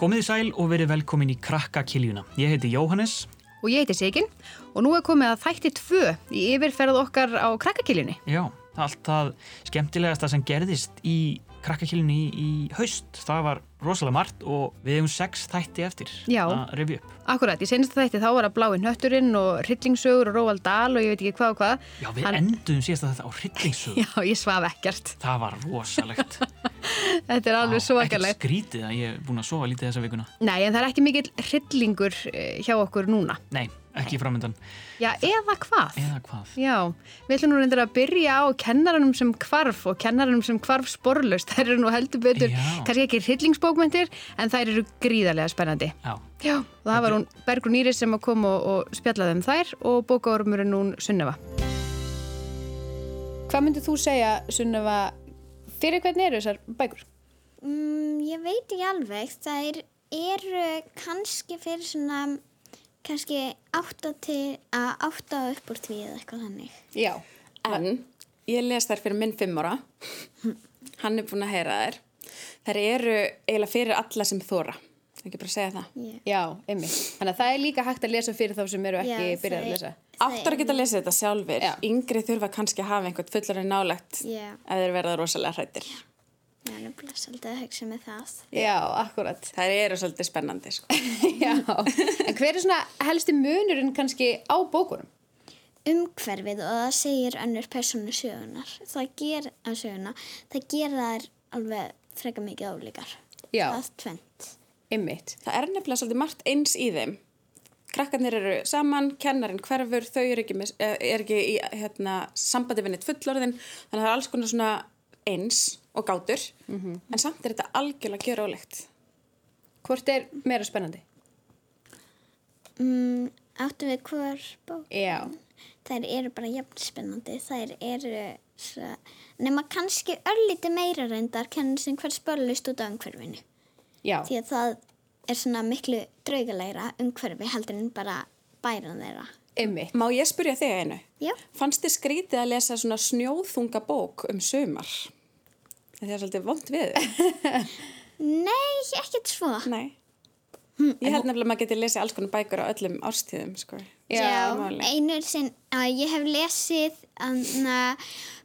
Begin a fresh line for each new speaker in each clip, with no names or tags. Komið í sæl og verið velkomin í Krakkakiljuna. Ég heiti Jóhannes.
Og ég heiti Sigyn og nú er komið að þætti tvö í yfirferð okkar á krakkakiljunni.
Já, allt það skemmtilegasta sem gerðist í Krakkakiljunni í, í haust. Það var rosalega margt og við hefum sex þætti eftir
Já.
að revi upp.
Akkurat, í senasta þætti þá var að blái nötturinn og hryllingsögur og Róald Dahl og ég veit ekki hvað og hvað.
Já, við
Hann-
endum síðast að þetta á hryllingsögu.
Já, ég svaf ekkert.
Það var rosalegt.
Þetta er alveg
Já,
svakalegt.
Ekkert skrítið að ég er búin að sofa lítið þessa vikuna.
Nei, en það er ekki mikill hryllingur eh, hjá okkur núna.
Nei, ekki framöndan.
Já, eða hvað?
Eða hvað?
Já, við ætlum nú reyndar að byrja á kennaranum sem hvarf og kennaranum sem hvarf sporlaust. Það eru nú heldur betur,
Já.
kannski ekki hryllingsbókmyndir, en þær eru gríðarlega spennandi.
Já,
Já, og það var hún Bergrún Íris sem að kom og, og spjallaði um þær og bókaormurinn hún Sunneva. Hvað myndið þú segja, Sunneva, fyrir hvernig eru þessar bækur?
Mm, ég veit ekki alveg. Þær eru kannski fyrir svona kannski átta til að átta og upp úr því eða eitthvað þannig.
Já.
En ég les þær fyrir minn fimm ára. Hann er búinn að heyra þær. Þær eru eiginlega fyrir alla sem þóra. Það er ekki bara að segja það.
Ég-
Já, emmi. Þannig að það er líka hægt að lesa fyrir þá sem eru ekki
Já,
byrjað að
þau-
lesa.
Áttar geta að lesa þetta sjálfur.
Já.
Yngri þurfa kannski að hafa einhvern fullarinn nálægt
Já.
ef þeir verða rosalega hrættir.
Ég er nefnilega svolítið að hugsa með það.
Já, akkurat.
Þær eru svolítið spennandi. Sko.
Já, en hver er svona helsti munurinn kannski á bókunum?
Umhverfið og það segir önnur persónu sögunar. Það ger að söguna, það gera þær alveg freka mikið álíkar.
Já.
Það er tvent.
Ymmit.
Það er nefnilega svolítið margt eins í þeim. Krakkarnir eru saman, kennarinn hverfur, þau eru ekki, með, eh, eru ekki í hérna, sambandi við neitt fullorðin, þannig að það er alls konar svona eins og gátur, en samt er þetta algjörlega gjörólegt.
Hvort er meira spennandi?
Mm, áttu við hver bók?
Já.
Þær eru bara jafn spennandi. Þær eru svo, nema kannski örlíti meira reyndar kennin sem hver spörlust út á umhverfinu.
Já,
Því að það er svona miklu draugalegra umhverfi heldur en bara bæran þeirra.
ymmit.
Má ég spurja þig einu?
Já.
Fannst þið skrítið að lesa svona snjóðþunga bók um sumar? Það er svolítið vond við.
Nei, ekkert svo.
Nei.
Hm,
Ég held nefnilega að maður geti lesið alls konar bækur á öllum árstíðum, sko.
Já,
máli.
einu sinn að ég hef lesið anna,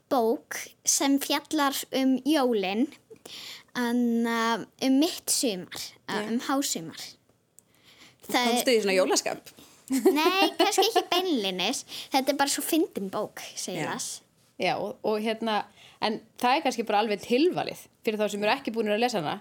bók sem fjallar um jólin, anna, um mitt sumar, að, um hásumar. Það
Fannst þið í svona jólaskap?
Nei, kannski ekki beinlinis. Þetta er bara svo fyndin bók, segir
Já.
það.
Já, og, og hérna, en það er kannski bara alveg tilvalið fyrir þá sem eru ekki búinir að lesa hana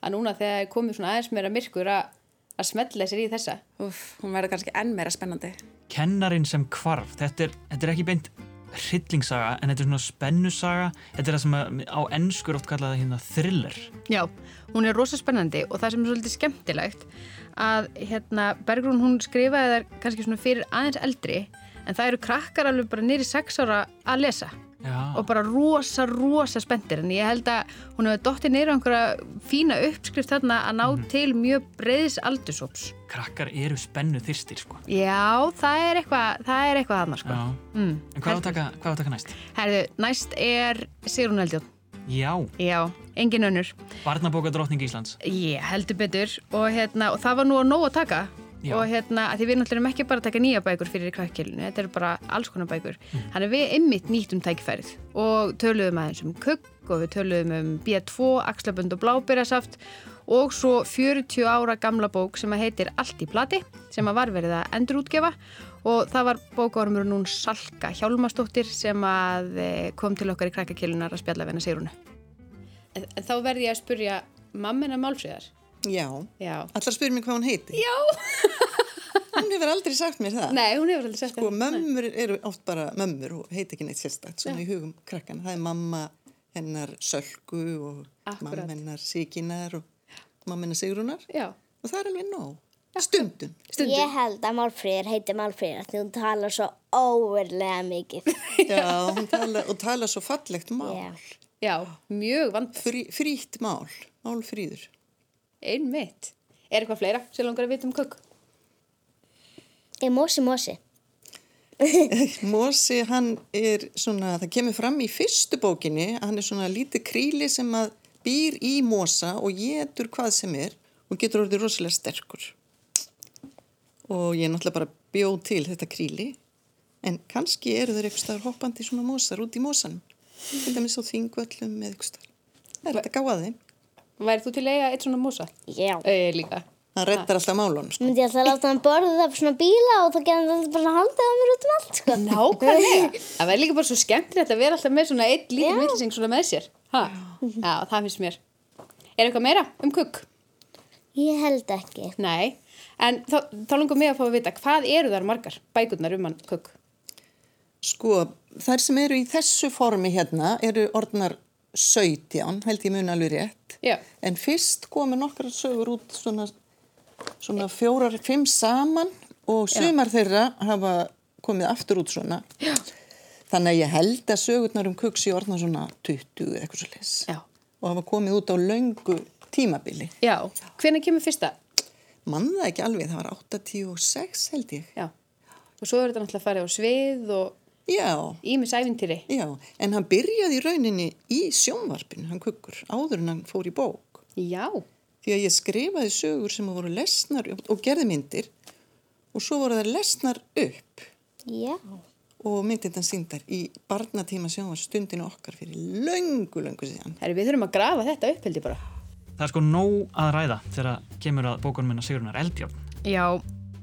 að núna þegar er komið svona aðeins meira myrkur að, að smella sér í þessa.
Úf, hún verður kannski enn meira spennandi.
Kennarin sem hvarf, þetta er, þetta er ekki beint hryllingssaga en þetta er svona spennusaga þetta er það sem að, á ennskur oft kallaði hérna thriller
Já, hún er rosa spennandi og það sem er svolítið skemmtilegt að hérna, Bergrún hún skrifaði þær kannski svona fyrir aðeins eldri en það eru krakkar alveg bara nýri sex ára að lesa
Já,
og bara rosa, rosa spenntir en ég held að hún hefur dottið neyra einhverja fína uppskrift þarna að ná til mjög breiðis aldursops
krakkar eru spennu þyrstir sko
Já, það er eitthvað það er eitthvað þarna sko
Já, en hvað á að taka, hvað á að taka næst?
Herðu, næst er Sigrun Eldjón
Já,
Já, engin önnur
barnabóka drottning Íslands
Ég heldur betur og, hérna, og það var nú að nóg að taka
Já.
og hérna, að því við náttúrulega erum ekki bara að taka nýja bækur fyrir krakkilinu, þetta eru bara alls konar bækur þannig að við ymmit nýttum tækifærið og töluðum aðeins um kukk og við töluðum um B2, axlabönd og blábyrjasaft og svo 40 ára gamla bók sem að heitir Allt í plati sem að var verið að endurútgefa og það var bókaormur núna Salka Hjálmastóttir sem að eh, kom til okkar í krakkakilunar að spjalla við hennar Sigrunu En, en þá verði ég að spurja mammina málfríðar.
Já.
Já.
Allar spyrir mér hvað hún heiti. Já. hún hefur aldrei sagt mér það.
Nei, hún hefur aldrei sagt
Sko,
þetta.
mömmur eru oft bara mömmur og heit ekki neitt sérstætt svona í hugum krakkana. Það er mamma hennar Sölku og
Akkúrat.
mamma hennar Siginar og mamma hennar Sigrunar.
Já.
Og það er alveg nóg. Stundum.
Stundum.
Ég held að Málfríður heiti Málfríður af því hún talar svo óverlega mikið.
Já, hún tala, og tala svo fallegt mál.
Já.
Já, mjög vand.
Frí, frýtt mál. Málfríður.
Einmitt. Er eitthvað fleira sem langar að vita um kökk?
Ég er Mósi Mósi.
Mósi, hann er svona, það kemur fram í fyrstu bókinni að hann er svona lítið kríli sem að býr í Mósa og getur hvað sem er og getur orðið rosalega sterkur. Og ég náttúrulega bara bjóð til þetta kríli en kannski eru þeir eitthvað staðar hoppandi svona mósar út í mósanum. Til dæmis á þingvöllum eða eitthvað staðar. Það er hægt að gá að þeim.
Værið þú til að eiga eitt svona músa?
Já.
Ég líka.
Það rettar alltaf málun, sko.
Myndi ég alltaf láta hann borða af svona bíla og þá getur hann alltaf bara haldið á mér út um allt, sko.
Nákvæmlega. Það væri líka bara svo skemmtilegt að vera alltaf með svona eitt lítið villising svona með sér. Ha? Já, það finnst mér. Er eitthvað meira um kukk?
Ég held ekki.
Nei. En þá, þá langar mig að fá að vita, hvað eru þar margar bækurnar um hann kukk?
Sko, þær sem eru í þessu formi hérna eru orðnar 17, held ég mun alveg rétt.
Já.
En fyrst komu nokkrar sögur út svona, svona fjórar, fimm saman og sumar þeirra hafa komið aftur út svona. Já. Þannig að ég held að sögurnar um kuksi orðnar svona 20 eða eitthvað svo leis.
Já.
Og hafa komið út á löngu tímabili.
Já. Hvenær kemur fyrsta?
Mann það ekki alveg, það var 86 held ég.
Já. Og svo er þetta náttúrulega farið á svið og
Já.
ímis æfintýri.
Já, en hann byrjaði í rauninni í sjónvarpinu, hann kukkur, áður en hann fór í bók.
Já.
Því að ég skrifaði sögur sem voru lesnar upp- og gerði myndir og svo voru það lesnar upp
Já.
og myndir þann síndar í barnatíma sjónvarp stundinu okkar fyrir löngu, löngu síðan.
Herri, við þurfum að grafa þetta upp held ég bara.
Það er sko nóg að ræða þegar kemur að bókunum minna Sigurnar Eldjárn.
Já,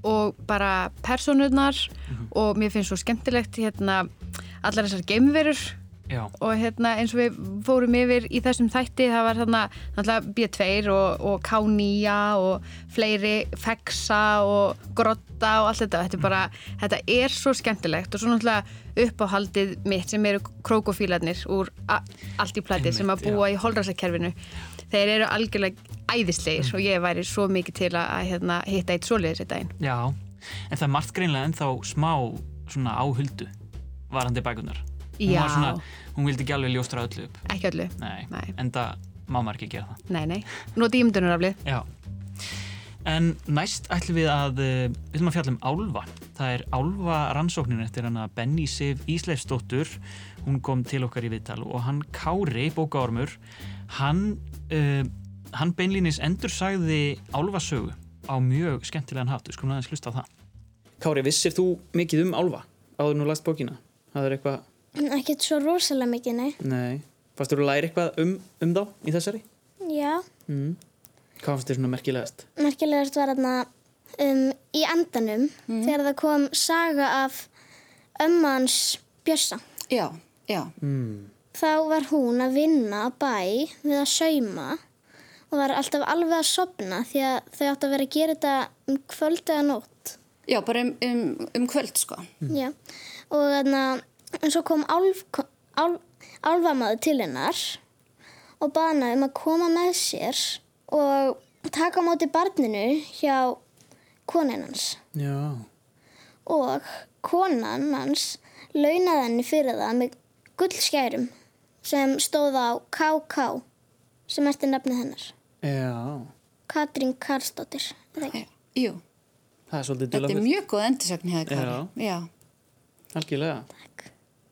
og bara personurnar
Mhm.
og mér finnst svo skemmtilegt hérna allar þessar geimverur
Já,
og hérna eins og við fórum yfir í þessum þætti það var þarna náttúrulega B2 og, og K9 og fleiri Fexa og Grotta og allt þetta þetta er, bara, þetta er svo skemmtilegt og svo náttúrulega uppáhaldið mitt sem eru krókofílarnir úr a- allt í plati sem að
Einmitt,
búa í holræsakerfinu þeir eru algjörlega
Mm.
æðislegir og ég væri svo mikið til að, að hérna, hitta eitt svoleiðis í daginn
já. En það er margt greinlega ennþá smá svona áhuldu varandi bækunar. Hún,
Já.
var svona, hún vildi ekki alveg ljóstra öllu upp.
ekki öllu,
Nei,
Nei.
en það má maður ekki gera það.
nei nei noti ímdunaraflið
Já. En næst ætlum við að, eh, við ætlum að fjalla um álfa. Það er álfa rannsóknin eftir hann að Benny Sif Ísleifsdóttur, hún kom til okkar í viðtal og hann Kári, bókaormur, hann, uh, hann beinlínis endur sagði álfasögu á mjög skemmtilegan hátt, við skulum aðeins hlusta á það.
Kári, vissir þú mikið um álfa áður nú last bókina? Það er eitthvað,
Mm, Ekkert svo rosalega mikið, nei.
nei, fastur þú læri eitthvað um, um þá í þessari?
Já.
Mm. Hvað fannst þér svona merkilegast?
merkilegast var þarna um, í endanum þegar það kom saga af ömmans Bjössa.
Já, já.
Þá var hún að vinna á bæ við að sauma og var alltaf alveg að sopna því að þau áttu að vera að gera þetta um kvöld eða nótt.
Já, bara um, um, um kvöld, sko.
Já. Og þannig að en svo kom álf, álf, álfamaður til hennar og bað hana um að koma með sér og taka á móti barninu hjá konin hans.
Já,
og konan hans launaði henni fyrir það með gullskærum sem stóð á KK sem ertu nafnið hennar
já,
Katrín Karlsdóttir er það ekki?
Jú,
það er svolítið
þetta er
dularfullt.
mjög góð endursögn hefði Kári. Já.
Algjörlega.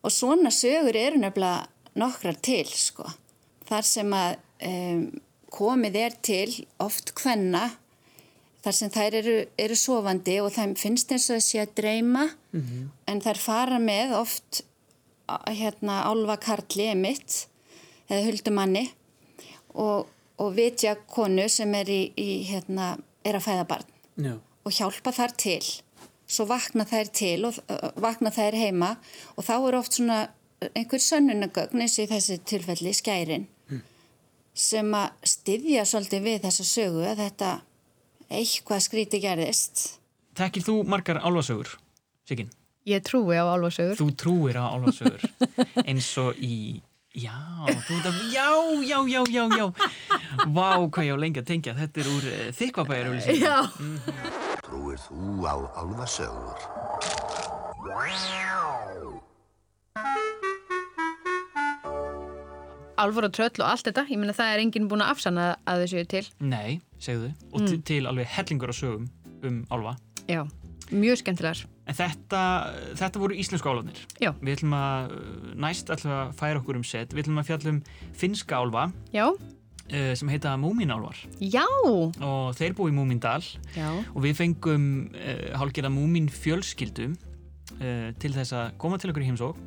Og svona sögur eru nefnilega nokkrar til, sko. Þar sem að um, komið er til oft hvenna, þar sem þær eru, eru sofandi og þeim finnst eins og þessi að dreyma, en þær fara með oft a- hérna álva karli emitt, eða huldumanni, og, og vitja konu sem er, í, í, hérna, er að fæða barn
Já,
og hjálpa þær til svo vakna þær til og uh, vakna þær heima og þá er oft svona einhver sönnunagögn eins og í þessi tilfelli skærin sem að styðja svolítið við þessa sögu að þetta eitthvað skríti gerðist
Tekir þú margar álfasögur, Sigyn?
ég trúi á álfarsögur
Þú trúir á álfasögur eins og í Já, þú ert að, já, já, já, já, já Vá, hvað ég á lengi að tengja Þetta er úr uh, þykvabæjar Já
Trúir þú á álfasögur?
álfur og tröll og allt þetta, ég meina það er enginn búin að afsanna að þau séu til
Nei, segðu Og mm. til alveg hellingur af sögum um álfa
Já, mjög skemmtilegar
En þetta, þetta voru íslensku álfanir
Já.
Við eh, ætlum að, uh, næst ætlum við að færa okkur um set Við ætlum að fjalla um finska álfa
Já,
uh, sem heita Múminálvar
Já,
og þeir búi í Múmindal
já,
og við fengum uh, hálfgerða Múmin fjölskyldu uh, til þess að koma til okkur í heimsók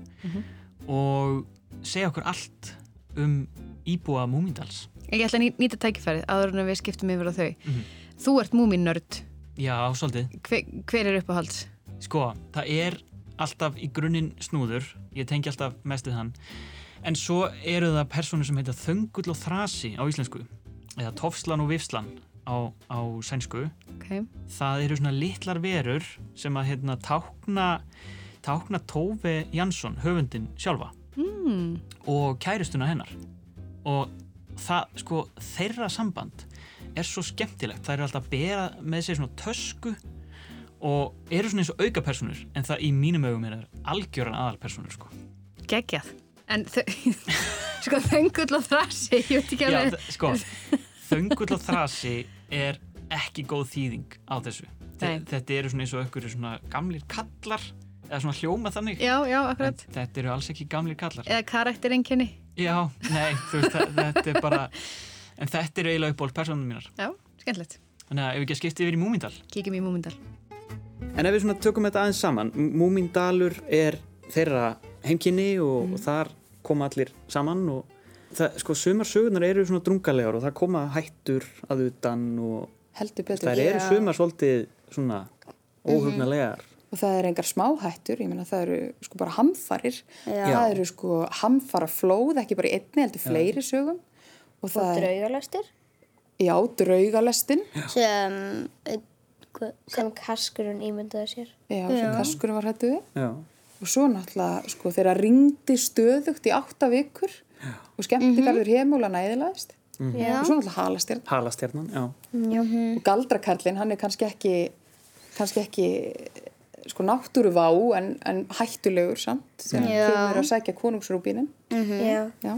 og segja okkur allt um íbúa Múmindals
ég ætla að ný- nýta tækifærið áður en við skiptum yfir á þau
Mhm.
Þú ert múminnörd,
Já, svolítið
hver, hver er uppáhalds?
Sko, það er alltaf í grunninn snúður, ég tengi alltaf mest við hann, en svo eru það persónu sem heita Þöngull og Þrasi á íslensku, eða Tofslan og Vifslan á, á sænsku.
Okay.
Það eru svona litlar verur sem að hérna tákna, tákna Tófi Jansson, höfundin sjálfa, mm. og kæristuna hennar. Og það, sko, þeirra samband er svo skemmtilegt. Það eru alltaf að bera með sér svona tösku og eru svona eins og auka personur en það í mínum augum er algjöran aðal personur sko.
Geggjað En þau, sko þöngull og þrasi Ég veit ekki
Já,
alveg
þ- sko þöngull og þrasi er ekki góð þýðing á þessu
Nei.
Þe- þetta eru svona eins og einhverju svona gamlir kallar eða svona hljóma þannig
Já, já,
en
akkurat
þetta eru alls ekki gamlir kallar
Eða karakterengjenni
já, nei, þú veist þa- þetta er bara en þetta eru eiginlega uppból personum mínar
Já, skemmtilegt
þannig að ef ekki að skipta yfir í Múmindal
Kíkjum í múmindal
En ef við svona tökum þetta aðeins saman, Múmindalur er þeirra heimkynni og,
Mm.
og þar koma allir saman og það, sko, sumar sögurnar eru svona drungalegar og það koma hættur að utan og
heldur betur
það eru sumar svolítið svona Mhm. óhugnalegar.
og það eru engar smáhættur, ég meina það eru sko bara hamfarir, það eru sko hamfara flóð, ekki bara í einni heldur fleiri sögum og það er,
Draugalöstur
já, draugalestin já,
sem, eh, hva- sem kaskurinn ímyndaði sér.
sem kaskurinn var hættu við
Já.
og svo náttúrulega sko þeirra ringdi stöðugt í átta vikur já. Mhm. og
Mhm.
skemmtigarður mm -hmm. heimúla næðilaðist og svo náttúrulega halastjarn
Halastjarnan, já.
og galdrakarlinn, hann er kannski ekki kannski ekki sko náttúruvá en, en hættulegur samt sem kemur að sækja konungsrúbínin
Mhm.
Já.
já,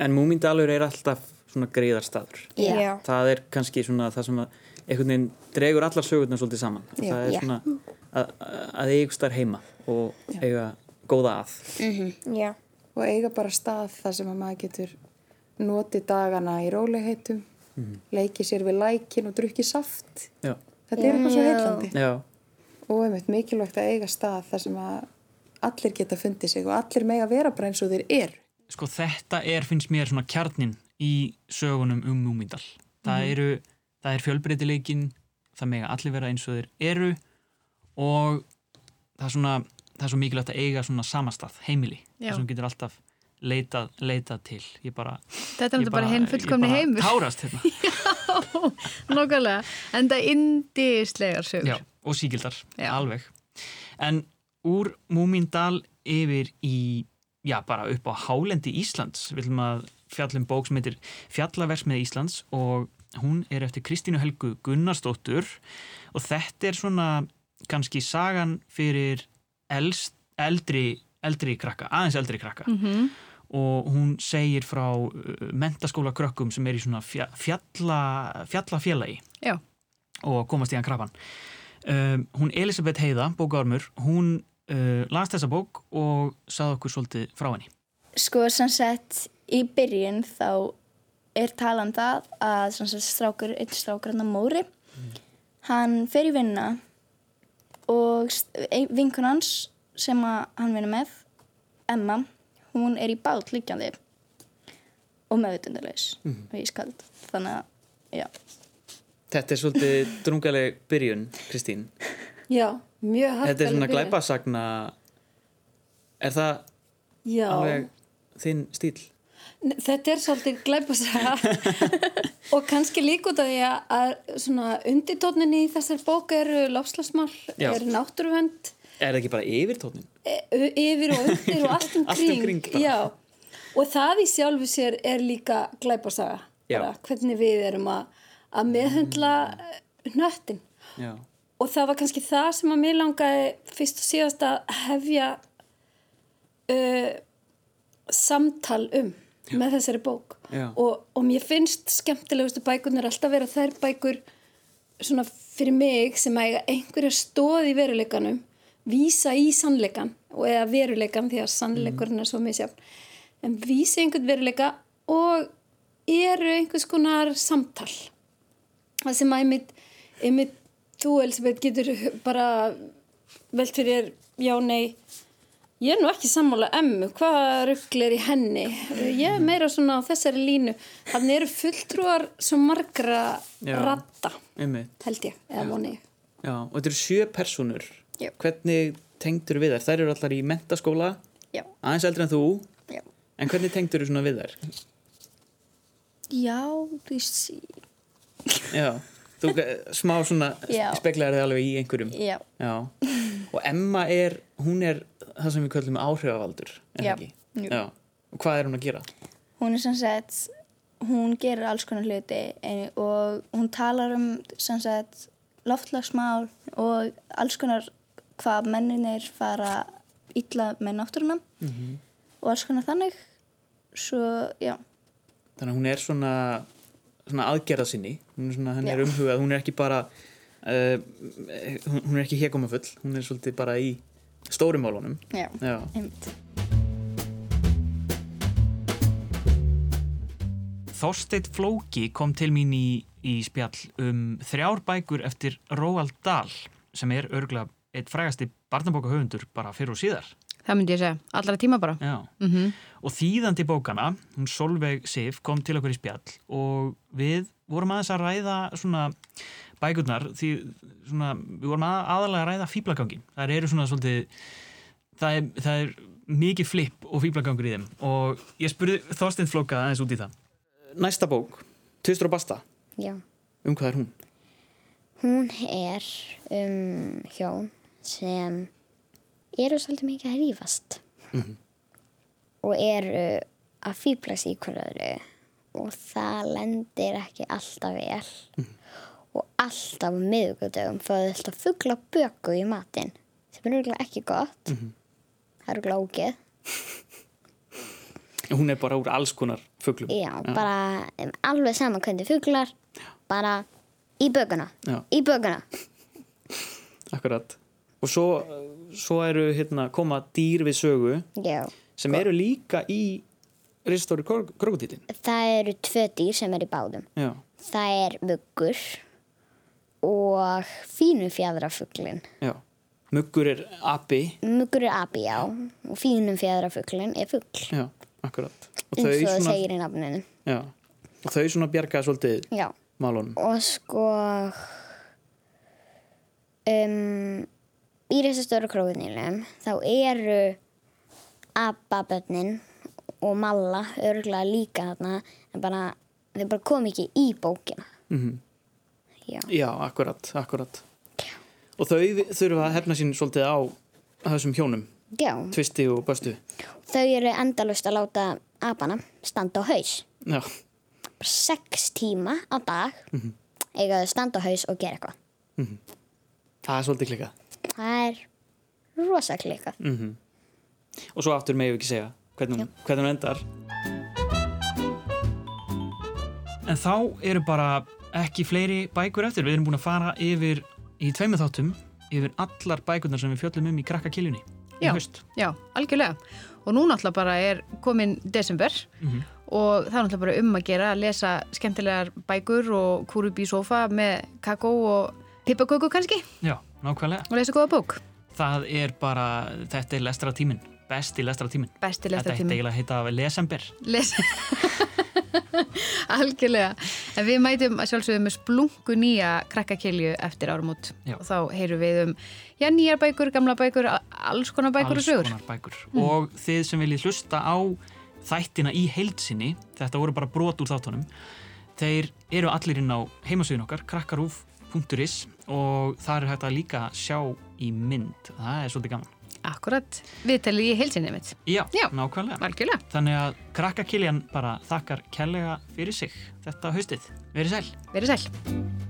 En Múmindalur er alltaf svona greiðarstaður.
Já. Já.
Það er kannski svona það sem að einhvern veginn dregur allar sögurnar svolítið saman. Já. Það er svona að, að eiga starf heima og eiga góða að.
Já.
og eiga bara stað þar sem að maður getur notið dagana í rólegheitum leikið sér við lækin og drukkið saft
Já.
þetta er eitthvað svo heillandi
Já.
og einmitt mikilvægt að eiga stað þar sem að allir geta fundið sig og allir mega vera bara eins og þeir eru
sko þetta er finnst mér svona kjarnin í sögunum um Múmindal það
Mhm.
eru, það er fjölbreytileikin það mega allir vera eins og þeir eru og það er svona, það er svo mikilvægt að eiga svona samastað, heimili,
Já.
þar sem þú getur alltaf leitað, leitað til ég bara,
Þetta er
ég
náttúrulega bara hinn fullkomni
ég bara
heimur
tárast hérna,
Nókulega En það er indislegar sögur
já, og síkildar
Já.
alveg, en úr Múmindal yfir í já, bara upp á hálendi Íslands við viljum að fjallum bók sem heitir Fjallaversmið Íslands og hún er eftir Kristínu Helgu Gunnarsdóttur og þetta er svona kannski sagan fyrir elst, eldri, eldri krakka, aðeins eldri krakka
Mhm.
og hún segir frá uh, mentaskóla krökkum sem er í svona fja- fjalla, fjallafélagi
Já.
og komast í hann krabban um, hún Elisabeth Heiða, bókaormur hún uh, las þessa bók og sagði okkur svolítið frá henni
sko sem sett í byrjun þá er talan það að sem sett strákur, einn strákur hann að Móri hann fer í vinna og s- ein- vinkun hans sem að hann vinna með Emma, hún er í bát líkjandi og meðutundarleis og ískald þannig að já,
Þetta er svolítið drungaleg byrjun, Kristín.
Já, mjög harkaleg
Þetta er svona
byrjun.
glæpasagna, er það
Já,
alveg þinn stíl?
N- þetta er svolítið glæpasaga og kannski líka út af því að- að svona undirtóninni í þessar bók eru lofslagsmál,
Já.
eru náttúruvend
Er það ekki bara yfirtónin?
e- ö- yfir og undir og allt um
Allt um
kring,
kring bara.
Já, og það í sjálfu sér er líka glæpasaga
Já.
bara, hvernig við erum að, að meðhundla mm. nöttin
Já.
og það var kannski það sem að mér langaði fyrst og síðast að hefja uh, samtal um með þessari bók
Já.
og, og mér finnst skemmtilegustu bækunar alltaf vera þær bækur svona fyrir mig sem að eiga einhverja stóð í veruleikanum vísa í sannleikan og eða veruleikan því að sannleikurinn er svo misjafn en vísa í einhvern veruleika og eru einhvers konar samtal það sem að einmitt, einmitt þú Elisabeth getur bara velt fyrir þér, já nei ég er nú ekki sammála emmu hvað ruggl er í henni ég er meira svona á þessari línu þannig eru fulltrúar svo margra
Já.
ratta
einmitt.
held ég, eða voni ég
Já, og þetta eru sjö personur
Já.
hvernig tengdur við þær? Þær eru allar í mentaskóla
Já.
aðeins eldri en þú
Já.
en hvernig tengdur þú svona við þær?
Já, þú sé.
Já, þú eh, smá svona
Já.
speklar þið alveg í einhverjum
Já.
Og Emma er, hún er það sem við köllum áhrifavaldur er það
Já.
ekki?
Jú.
Já, og hvað er hún að gera?
Hún er sem sagt, hún gerir alls konar hluti en- og hún talar um sem sagt loftlagsmál og alls konar hvað menninir fara illa með náttúruna og alls konar þannig. Svo, já,
Þannig að hún er svona, svona aðgerða sinni hún er, svona, henni er
Já.
umhugað, hún er ekki bara uh, hún, hún er ekki hekomafull hún er svolítið bara í stórum málunum
já,
Já.
einmitt.
Þorsteinn Flóki kom til mín í, í spjall um þrjár bækur eftir Róald Dahl sem er örgla eitt frægasti barnabókahöfundur bara fyrir og síðar
það myndi ég segja, allra tíma bara
Já.
Mhm.
og þýðandi bókana, hún Solveig Sif kom til okkur í spjall og við vorum aðeins að ræða svona bækurnar því svona, við vorum að, aðalega að ræða fýblagangin það eru svona svolítið það er, það er mikið flip og fýblagangur í þeim og ég spurði Þorsteinn Flóka aðeins út í það
Næsta bók, Tvistur og Basta
Já.
um hvað er hún?
Hún er um hjón sem eru svolítið mikið að rífast
Mhm.
og eru að fýblast í hverju öðru og það lendir ekki alltaf vel
Mhm.
og alltaf á miðugudögum fá þau alltaf fugla böku í matinn sem er örugglega ekki gott
Mhm.
það eru glókið
Hún er bara úr alls konar fuglum
já, bara um, alveg sama hvernig fuglar bara í bökuna
Já.
í bökuna
Akkurat. Og svo, svo eru hérna koma dýr við sögu
já
sem eru líka í Ristóri krokodítin.
Það eru tvö dýr sem er í báðum.
Já.
Það er muggur og fínu fjadrafuglin.
Já. Muggur er api.
Muggur er abi, já, og fínu fjadrafuglin er fugl.
Já, akkurat. Og
eins
þau
og það
svona,
segir í nafninu.
já, og þau svona bjarga svolítið
Já,
málunum.
og sko, um, í þessu stóru krókunilum þá eru ababötnin og malla örgulega líka þarna, en bara, þau bara kom ekki í bókina.
Mhm.
Já.
Já, akkurat, akkurat. Og þau vi- þurfa að hefna sín svolítið á þessum hjónum.
Já,
Tvisti og Böstu.
þau eru endalust að láta apana standa á haus.
Já,
Bara sex tíma á dag
Mhm.
eiga þau að standa á haus og gera eitthvað.
það er svolítið klikað.
Það er rosaklega eitthvað.
Mm Og svo aftur megum við ekki segja hvernig, hún- hvernig hún endar.
En þá eru bara ekki fleiri bækur eftir. Við erum búin að fara yfir í tveimur þáttum yfir allar bækurnar sem við fjöllum um í krakkakiljunni.
já,
haust.
já, algjörlega og nú náttúrulega bara er komin desember
Mhm.
og það er náttúrulega bara um að gera að lesa skemmtilegar bækur og kúru upp í sofa með kakó og pippaköku kannski
Já, nákvæmlega.
og lesa góða bók
Það er bara, þetta er lestra tíminn. Besti lestra tíminn.
Besti
Þetta
lestrartíminn.
heitir eiginlega að heita lesember.
lesa algjörlega en við mætum að sjálfsögðu með splungu nýja krakkakilju eftir árumót
Já.
og þá heyrum við um já, nýjar bækur, gamla bækur, a- alls konar bækur og
alls
sögur
konar bækur
Mm.
og þið sem viljið hlusta á þættina í heildsinni þetta voru bara brot úr þáttunum þeir eru allir inn á heimasögin okkar krakkarúf.is og þar er hægt að líka sjá í mynd það er svolítið gaman
Akkurat, viðtalið í heilsinni mitt
Já, nákvæmlega
Algjörlega.
Þannig að krakkakiljan bara þakkar kærlega fyrir sig þetta haustið. Verið sæl
Verið sæl